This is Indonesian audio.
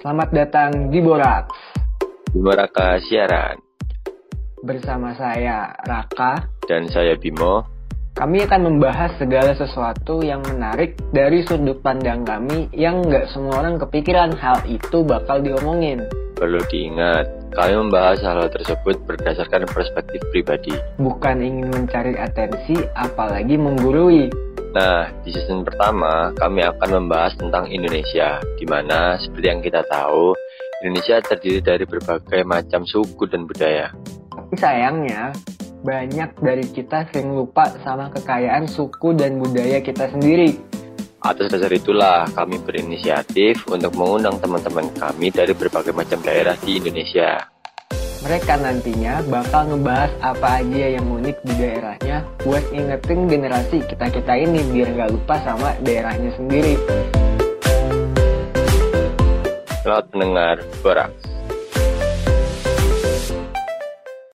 Selamat datang di Borak Bima Raka Siaran bersama saya Raka. dan saya Bimo. Kami akan membahas segala sesuatu yang menarik dari sudut pandang kami yang nggak semua orang kepikiran hal itu bakal diomongin. Perlu diingat, kami membahas hal-hal tersebut berdasarkan perspektif pribadi. Bukan ingin mencari atensi, apalagi menggurui. Nah, di season pertama, kami akan membahas tentang Indonesia, di mana seperti yang kita tahu, Indonesia terdiri dari berbagai macam suku dan budaya. Tapi sayangnya, banyak dari kita sering lupa sama kekayaan suku dan budaya kita sendiri. Atas dasar itulah kami berinisiatif untuk mengundang teman-teman kami dari berbagai macam daerah di Indonesia. Mereka nantinya bakal ngebahas apa aja yang unik di daerahnya buat ingetin generasi kita-kita ini biar nggak lupa sama daerahnya sendiri. Selamat mendengar, Borak.